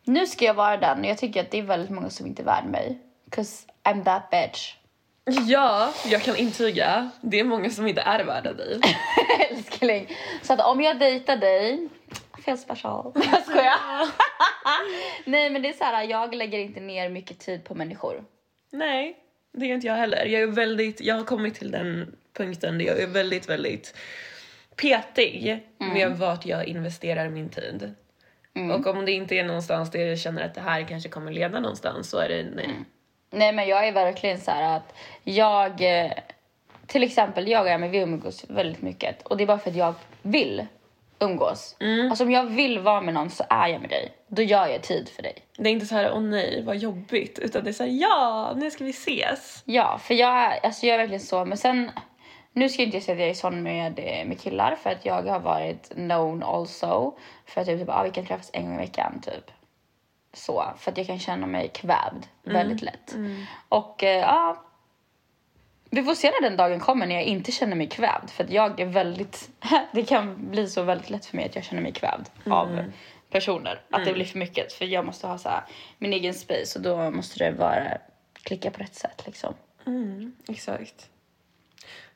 S1: nu ska jag vara den och jag tycker att det är väldigt många som inte är värd mig. 'Cause I'm that bitch. (laughs)
S2: Ja, jag kan intyga. Det är många som inte är värda dig.
S1: Älskling. Så att om jag dejtar dig, fel special. (laughs) Jag skojar. Nej men det är så här, jag lägger inte ner mycket tid på människor.
S2: Nej, det gör inte jag heller. Jag, är väldigt, jag har kommit till den punkten där jag är väldigt, väldigt petig med vart jag investerar min tid. Och om det inte är någonstans där jag känner att det här kanske kommer leda någonstans så är det nej.
S1: Nej men jag är verkligen så här att jag... eh, Till exempel jag och Emil vi umgås väldigt mycket och det är bara för att jag vill umgås. Alltså om jag vill vara med någon så är jag med dig. Då gör jag tid för dig.
S2: Det är inte så här åh nej vad jobbigt utan det är så här ja nu ska vi ses.
S1: Ja, för jag, är- alltså jag är verkligen så. Men sen, nu ska jag inte säga att jag är sån med, eh, med killar för att jag har varit known also. För att jag typ, ah, vi kan träffas en gång i veckan typ. Så, för att jag kan känna mig kvävd väldigt lätt. Och eh, ja, vi får se när den dagen kommer när jag inte känner mig kvävd. För att jag är väldigt, (laughs) det kan bli så väldigt lätt för mig att jag känner mig kvävd av personer. Att det blir för mycket. För jag måste ha så här, min egen space och då måste det vara klicka på rätt sätt liksom.
S2: Exakt.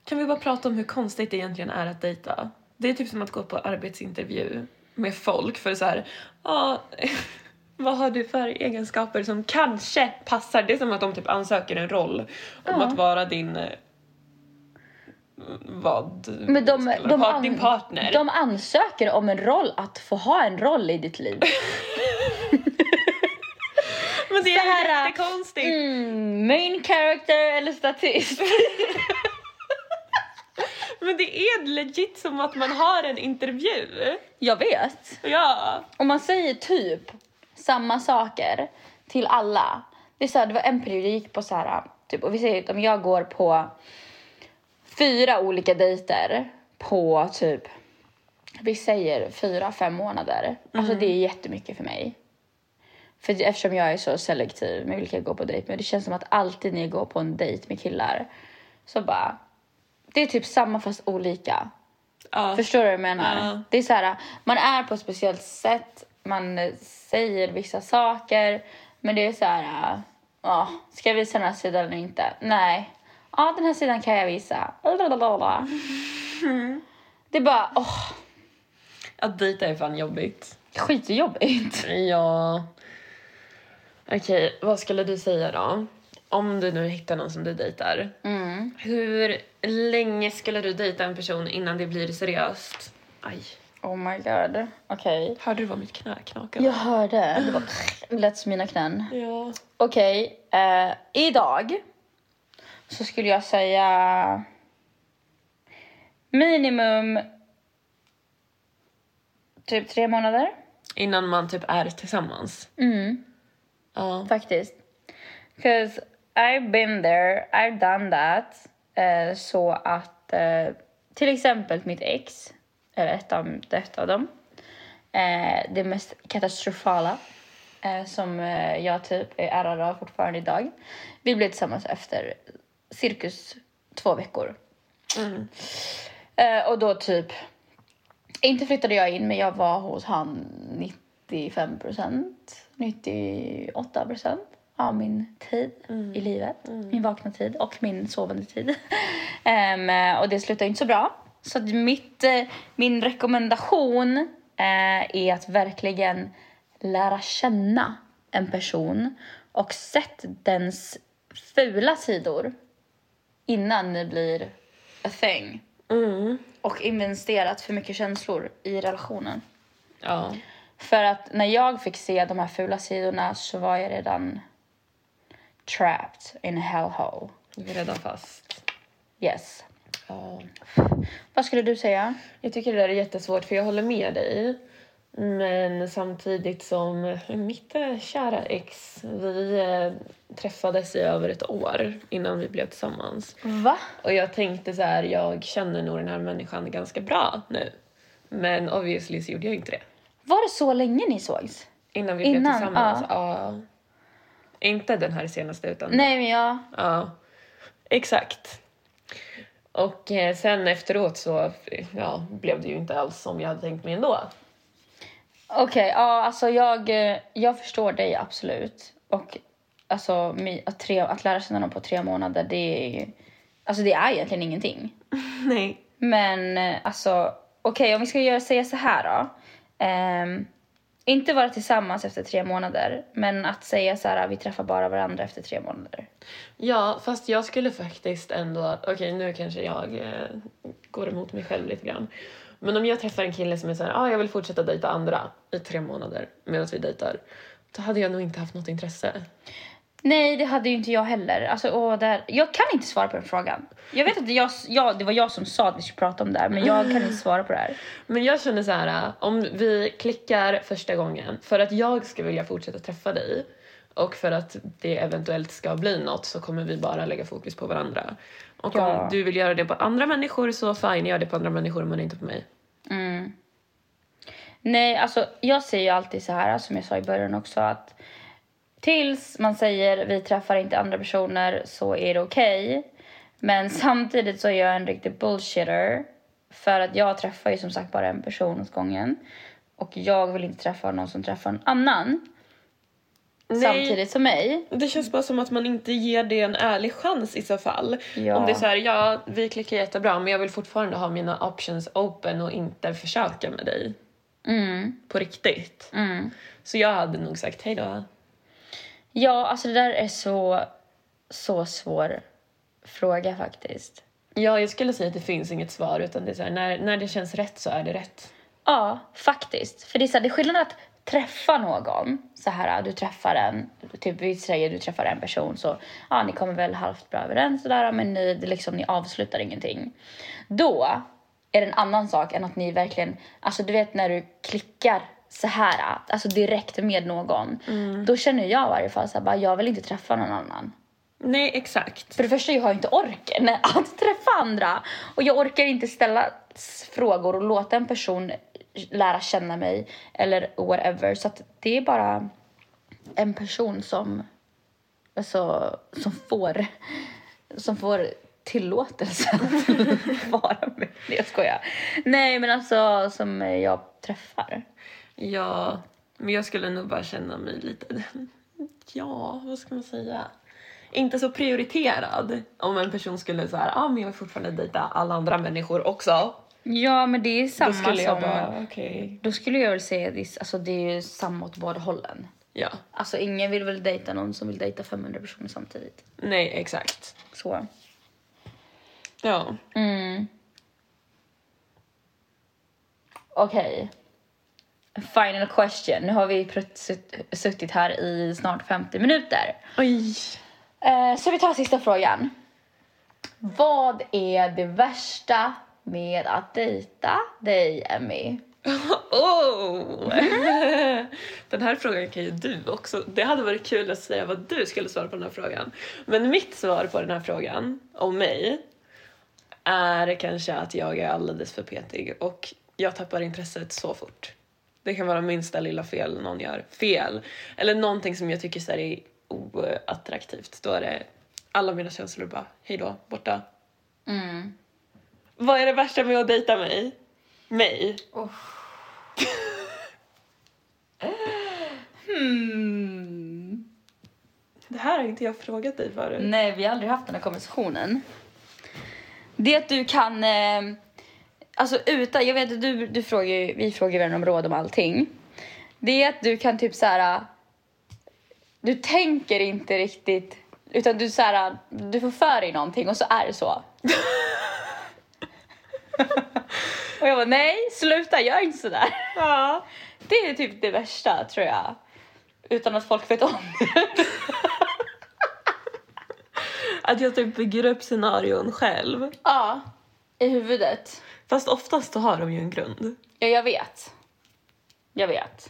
S2: Kan vi bara prata om hur konstigt det egentligen är att dejta? Det är typ som att gå på arbetsintervju med folk för så här, ja, (laughs) vad har du för egenskaper som kanske passar? Det är som att de typ ansöker en roll om att vara din eh, vad?
S1: Men de,
S2: spelar
S1: de,
S2: part,
S1: an-
S2: din partner.
S1: de ansöker om en roll att få ha en roll i ditt liv.
S2: Men det
S1: så här,
S2: är jättekonstigt.
S1: Mm, main character eller statist?
S2: Men det är legit som att man har en intervju.
S1: Jag vet.
S2: Ja.
S1: Om man säger typ samma saker till alla. Det, är så här, det var en period jag gick på så här, typ, och vi säger att om jag går på fyra olika dejter på typ, vi säger fyra, fem månader. Alltså det är jättemycket för mig. För det- eftersom jag är så selektiv med vilka jag går på dejt med. Det känns som att alltid när jag går på en dejt med killar så bara, det är typ samma fast olika.
S2: ja.
S1: Förstår du vad jag menar?
S2: Ja.
S1: Det är så här, man är på ett speciellt sätt, man eh, säger vissa saker, men det är så här, eh, ja, ska jag visa den här sidan eller inte? Nej. Ja, den här sidan kan jag visa. Lalalala. Det är bara, åh,
S2: Att dejta är fan jobbigt.
S1: skitjobbigt.
S2: Ja. Okej, vad skulle du säga då? Om du nu hittar någon som du dejtar.
S1: Mm.
S2: Hur länge skulle du dejta en person innan det blir seriöst? Aj.
S1: Oh my god. Okej.
S2: Hörde du vad mitt knä knakade?
S1: Jag hörde. Det var lät som mina knän.
S2: Ja.
S1: Okej. eh, idag så skulle jag säga minimum typ tre månader.
S2: Innan man typ är tillsammans.
S1: Mm,
S2: Ja.
S1: faktiskt. Cause I've been there, I've done that. Eh, så att eh, till exempel mitt ex, eller ett av, ett av dem, eh, det mest katastrofala eh, som eh, jag typ är ärrad av fortfarande idag. Vi blev tillsammans efter cirkus två veckor.
S2: Mm.
S1: Eh, och då typ, inte flyttade jag in men jag var hos han 95 procent, 98 procent av min tid i livet. Min vakna tid och min sovande tid. (laughs) Ehm, och det slutade inte så bra. Så att mitt, eh, min rekommendation eh, är att verkligen lära känna en person och sett dens fula sidor innan ni blir a thing
S2: Mm.
S1: och investerat för mycket känslor i relationen.
S2: Ja.
S1: För att när jag fick se de här fula sidorna så var jag redan trapped in a hellhole.
S2: Du är redan fast.
S1: Yes.
S2: Ja.
S1: Vad skulle du säga?
S2: Jag tycker det där är jättesvårt för jag håller med dig. Men samtidigt som mitt eh, kära ex, vi eh, träffades i över ett år innan vi blev tillsammans.
S1: Va?
S2: Och jag tänkte så här, jag känner nog den här människan ganska bra nu. Men obviously så gjorde jag inte det.
S1: Var det så länge ni sågs?
S2: Innan vi blev
S1: Innan,
S2: tillsammans. Ja. Inte den här senaste utan
S1: Nej, men jag...
S2: Ja, exakt. Och eh, sen efteråt så ja, blev det ju inte alls som jag hade tänkt mig ändå.
S1: Okej, ja, alltså jag, eh, jag förstår dig absolut. Och alltså, mi- att, tre, att lära känna någon på tre månader, det är ju... Alltså det är egentligen ingenting.
S2: Nej.
S1: Men eh, alltså, okej om vi ska göra, säga så här då. Ehm, inte vara tillsammans efter tre månader, men att säga så här, "Ah, vi träffar bara varandra efter tre månader.
S2: Ja, fast jag skulle faktiskt ändå... Okej, nu kanske jag eh, går emot mig själv lite grann. Men om jag träffar en kille som är så här, ah, jag vill fortsätta dejta andra i tre månader medan vi dejtar. Då hade jag nog inte haft något intresse.
S1: Nej, det hade ju inte jag heller. Alltså, åh, där. Jag kan inte svara på den frågan. Jag vet att det, jag, jag, det var jag som sa att vi skulle prata om det här, men jag kan inte svara på det här.
S2: Men jag känner så här, eh, om vi klickar första gången för att jag ska vilja fortsätta träffa dig och för att det eventuellt ska bli något så kommer vi bara lägga fokus på varandra. Och
S1: Ja.
S2: om du vill göra det på andra människor så fine, gör det på andra människor men inte på mig.
S1: Mm. Nej, alltså jag säger ju alltid så här, som jag sa i början också, att tills man säger vi träffar inte andra personer så är det okej. Men (laughs) samtidigt så är jag en riktig bullshitter. För att jag träffar ju som sagt bara en person åt gången. Och jag vill inte träffa någon som träffar en annan
S2: Nej.
S1: samtidigt som mig.
S2: Det känns bara som att man inte ger det en ärlig chans i så fall.
S1: Ja.
S2: Om det är så här, ja vi klickar jättebra men jag vill fortfarande ha mina options open och inte försöka med dig
S1: Mm,
S2: på riktigt.
S1: mm.
S2: Så jag hade nog sagt hej då.
S1: Ja, alltså det där är så, så svår fråga faktiskt.
S2: Ja, jag skulle säga att det finns inget svar utan det är så här, när, när det känns rätt så är det rätt.
S1: Ja, faktiskt. För det är, så här, det är skillnad att träffa någon. Så här, du träffar en, typ vi säger du träffar en person så ja, ni kommer väl halvt bra överens sådär, men ni, det liksom, ni avslutar ingenting. Då är det en annan sak än att ni verkligen, alltså du vet när du klickar så här, alltså direkt med någon. Då känner jag i varje fall så här, bara, jag vill inte träffa någon annan.
S2: Nej, exakt.
S1: För det första, jag har inte orken att träffa andra. Och jag orkar inte ställa s- frågor och låta en person lära känna mig eller whatever. Så att det är bara en person som, alltså, som får, som får tillåtelse att (laughs) vara med. Nej, jag skojar. Nej, men alltså som jag träffar.
S2: Ja, men jag skulle nog bara känna mig lite... (laughs) Ja, vad ska man säga? Inte så prioriterad om en person skulle säga ah, men jag vill fortfarande dejta alla andra människor också.
S1: Ja, men det är samma
S2: Då skulle
S1: som...
S2: jag bara, okej.
S1: Då skulle jag väl säga att det, är- alltså det är ju samma åt båda hållen.
S2: Ja.
S1: Alltså ingen vill väl dejta någon som vill dejta 500 personer samtidigt.
S2: Nej, exakt.
S1: Så.
S2: Ja.
S1: Mm. Okej. Final question. Nu har vi prutt- sutt- suttit här i snart 50 minuter.
S2: Oj.
S1: Eh, Så vi tar sista frågan. Vad är det värsta med att dejta dig, Emmy?
S2: Oh! (laughs) Den här frågan kan ju du också. Det hade varit kul att säga vad du skulle svara på den här frågan. Men mitt svar på den här frågan, om mig, är kanske att jag är alldeles för petig och jag tappar intresset så fort. Det kan vara minsta lilla fel någon gör. Fel! Eller någonting som jag tycker så här är oattraktivt. Då är det alla mina känslor bara hej då, borta.
S1: Mm.
S2: Vad är det värsta med att dejta mig? Mig? Det här har inte jag frågat dig förut.
S1: Nej, vi har aldrig haft den här konversationen. Det att du kan... Eh, alltså utan... Jag vet att du, du frågar ju, vi frågar ju varandra om råd om allting. Det är att du kan typ så här... Du tänker inte riktigt, utan du så här, du får för dig någonting och så är det så. och jag var nej, sluta, gör inte sådär.
S2: Ja.
S1: Det är typ det värsta tror jag. Utan att folk vet om det.
S2: Att jag typ bygger upp scenarion själv.
S1: Ja, i huvudet.
S2: Fast oftast då har de ju en grund. (laughs)
S1: Ja, jag vet. Jag vet.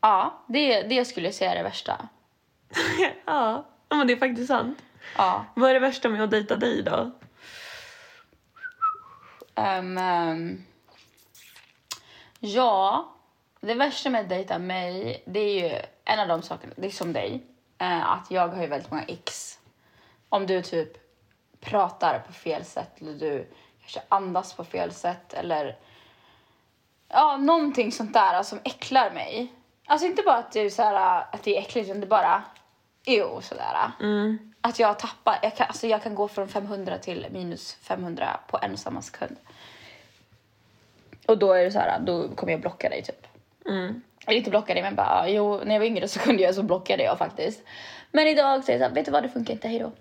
S1: Ja, det, det skulle jag säga är det värsta.
S2: ja. ja, men det är faktiskt sant.
S1: Ja.
S2: Vad är det värsta med att dejta dig då?
S1: Ehm, ehm. ja, det värsta med att dejta mig, det är ju en av de sakerna, det är som dig, eh, att jag har ju väldigt många x. Om du typ pratar på fel sätt eller du kanske andas på fel sätt eller ja, någonting sånt där alltså, som äcklar mig. Alltså inte bara att, du, så här, att det är äckligt utan det är bara ew sådär.
S2: Mm.
S1: Att jag tappar, jag kan, alltså jag kan gå från 500 till minus 500 på en och samma sekund. Och då är det så här, då kommer jag blocka dig typ.
S2: Mm.
S1: Eller inte blocka dig men bara, ah, jo när jag var yngre så kunde jag så blockade jag faktiskt. Men idag säger jag så här, vet du vad det funkar inte, hejdå.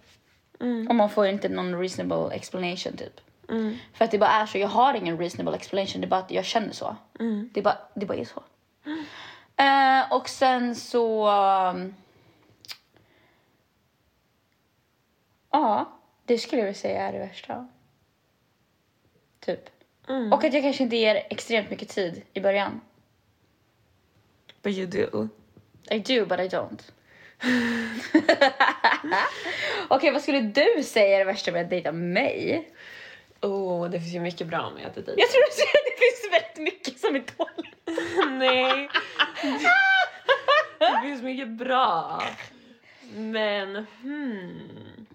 S2: Mm.
S1: Och man får inte någon reasonable explanation typ.
S2: Mm.
S1: För att det bara är så, jag har ingen reasonable explanation, det är bara att jag känner så.
S2: Mm.
S1: Det bara, det bara är
S2: (gasps)
S1: så. Eh, och sen så... um, Ja, det skulle jag väl säga är det värsta. Typ.
S2: Mm.
S1: Och att jag kanske inte ger extremt mycket tid i början.
S2: But you do.
S1: I do, but I don't. (laughs) Okej, vad skulle du säga är det värsta med att dejta mig?
S2: Oh, det finns ju mycket bra med att dejta.
S1: Jag tror att det finns väldigt mycket som är dåligt.
S2: (laughs) Nej. Det finns mycket bra. Men hmm.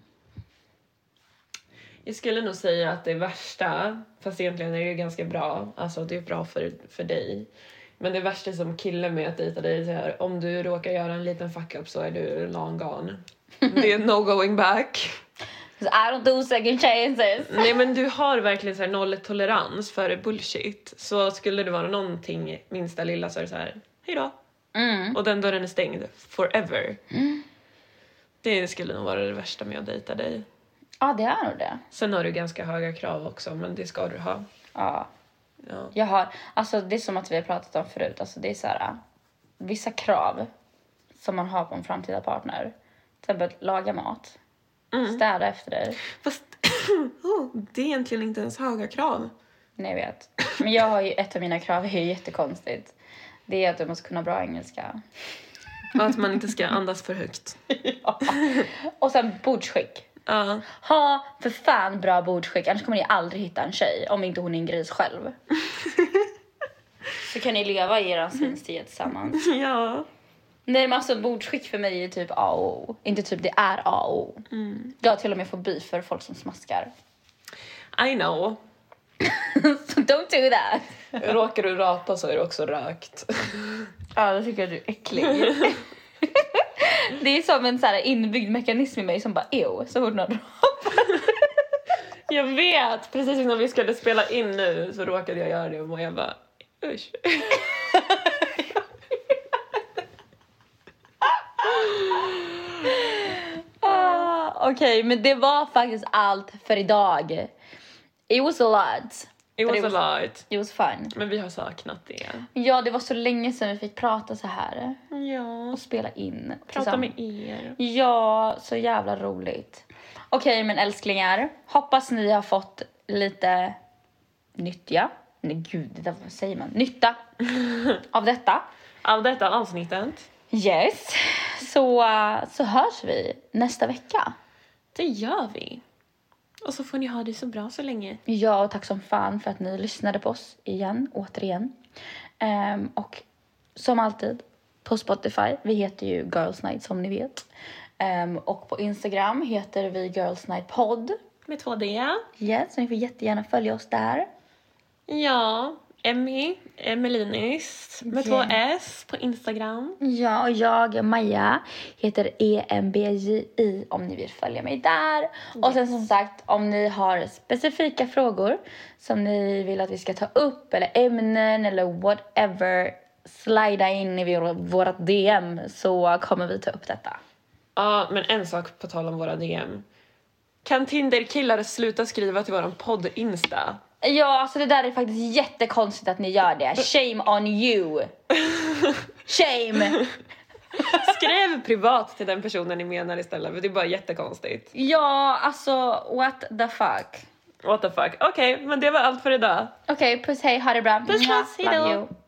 S2: Jag skulle nog säga att det värsta, fast egentligen är det ju ganska bra, alltså det är bra för, för dig. Men det värsta som kille med att dejta dig är så här, om du råkar göra en liten fuck-up så är du long gone. Det är no going back.
S1: 'Cause Alltså, I don't do second chances.
S2: Nej men du har verkligen så här nolltolerans för bullshit. Så skulle det vara någonting minsta lilla så är det så här, hejdå.
S1: Mm.
S2: Och den dörren är stängd forever. Det skulle nog vara det värsta med att dejta dig.
S1: Ja, det är nog det.
S2: Sen har du ganska höga krav också, men det ska du ha.
S1: Ja.
S2: Ja.
S1: Jag har, alltså det är som att vi har pratat om förut, alltså det är så här, vissa krav som man har på en framtida partner. Till exempel laga mat, städa efter dig.
S2: Fast (laughs) oh, det är egentligen inte ens höga krav.
S1: Nej, jag vet. Men jag har ju, ett av mina krav är ju jättekonstigt. Det är att du måste kunna bra engelska.
S2: Och att man inte ska andas för högt.
S1: Och sen bordsskick.
S2: Ja.
S1: Ha för fan bra bordsskick, annars kommer ni aldrig hitta en tjej om inte hon är en gris själv. (laughs) Så kan ni leva i er svinstid tillsammans.
S2: (laughs) ja.
S1: Nej men alltså bordsskick för mig är typ A och O. Inte typ, det är A och O. Jag har till och med fobi för folk som smaskar. (laughs)
S2: I know.
S1: so don't do that!
S2: Råkar du rapa så är du också rökt. (laughs)
S1: Ja, då tycker jag du är äcklig. (laughs) det är som en så här inbyggd mekanism i mig som bara ew, så fort någon
S2: jag vet! Precis innan vi (laughs) skulle spela in nu så råkade jag göra det och jag bara usch.
S1: Ah, Okej, men det var faktiskt allt för idag. It was a lot. But
S2: It was,
S1: it was-
S2: a lot.
S1: It was fun.
S2: Men vi har saknat det.
S1: Ja, det var så länge sedan vi fick prata så här
S2: Ja.
S1: och spela in.
S2: Prata med er.
S1: Ja, så jävla roligt. Okej, men älsklingar. Hoppas ni har fått lite nyttiga. Nej, gud, det där, vad säger man? Nytta av detta.
S2: Av detta avsnittet.
S1: Yes. Så, eh, så hörs vi nästa vecka.
S2: Det gör vi. Och så får ni ha det så bra så länge.
S1: Ja, och tack som fan för att ni lyssnade på oss igen, återigen. Ehm, och som alltid på Spotify, vi heter ju Girls Night som ni vet. Ehm, och på Instagram heter vi Girls Night Pod.
S2: Med två D.
S1: Yes, så ni får jättegärna följa oss där.
S2: Ja. Emmy, Emelinis med två S på Instagram.
S1: Ja, och jag, Maja, heter E EMBJI om ni vill följa mig där. Och sen som sagt, om ni har specifika frågor som ni vill att vi ska ta upp eller ämnen eller whatever, slida in i vår- vårat DM så kommer vi ta upp detta.
S2: Ja, men en sak på tal om våra DM. Kan Tinder-killar sluta skriva till våran podd-insta?
S1: Ja, alltså det där är faktiskt jättekonstigt att ni gör det. Shame on (laughs) you! Shame!
S2: (laughs) Skriv privat till den personen ni menar istället för det är bara jättekonstigt.
S1: Ja, alltså what the fuck.
S2: What the fuck. Okej, men det var allt för idag.
S1: Okej, puss hej, ha det bra.
S2: Puss, puss,
S1: Love
S2: hejdå.
S1: you.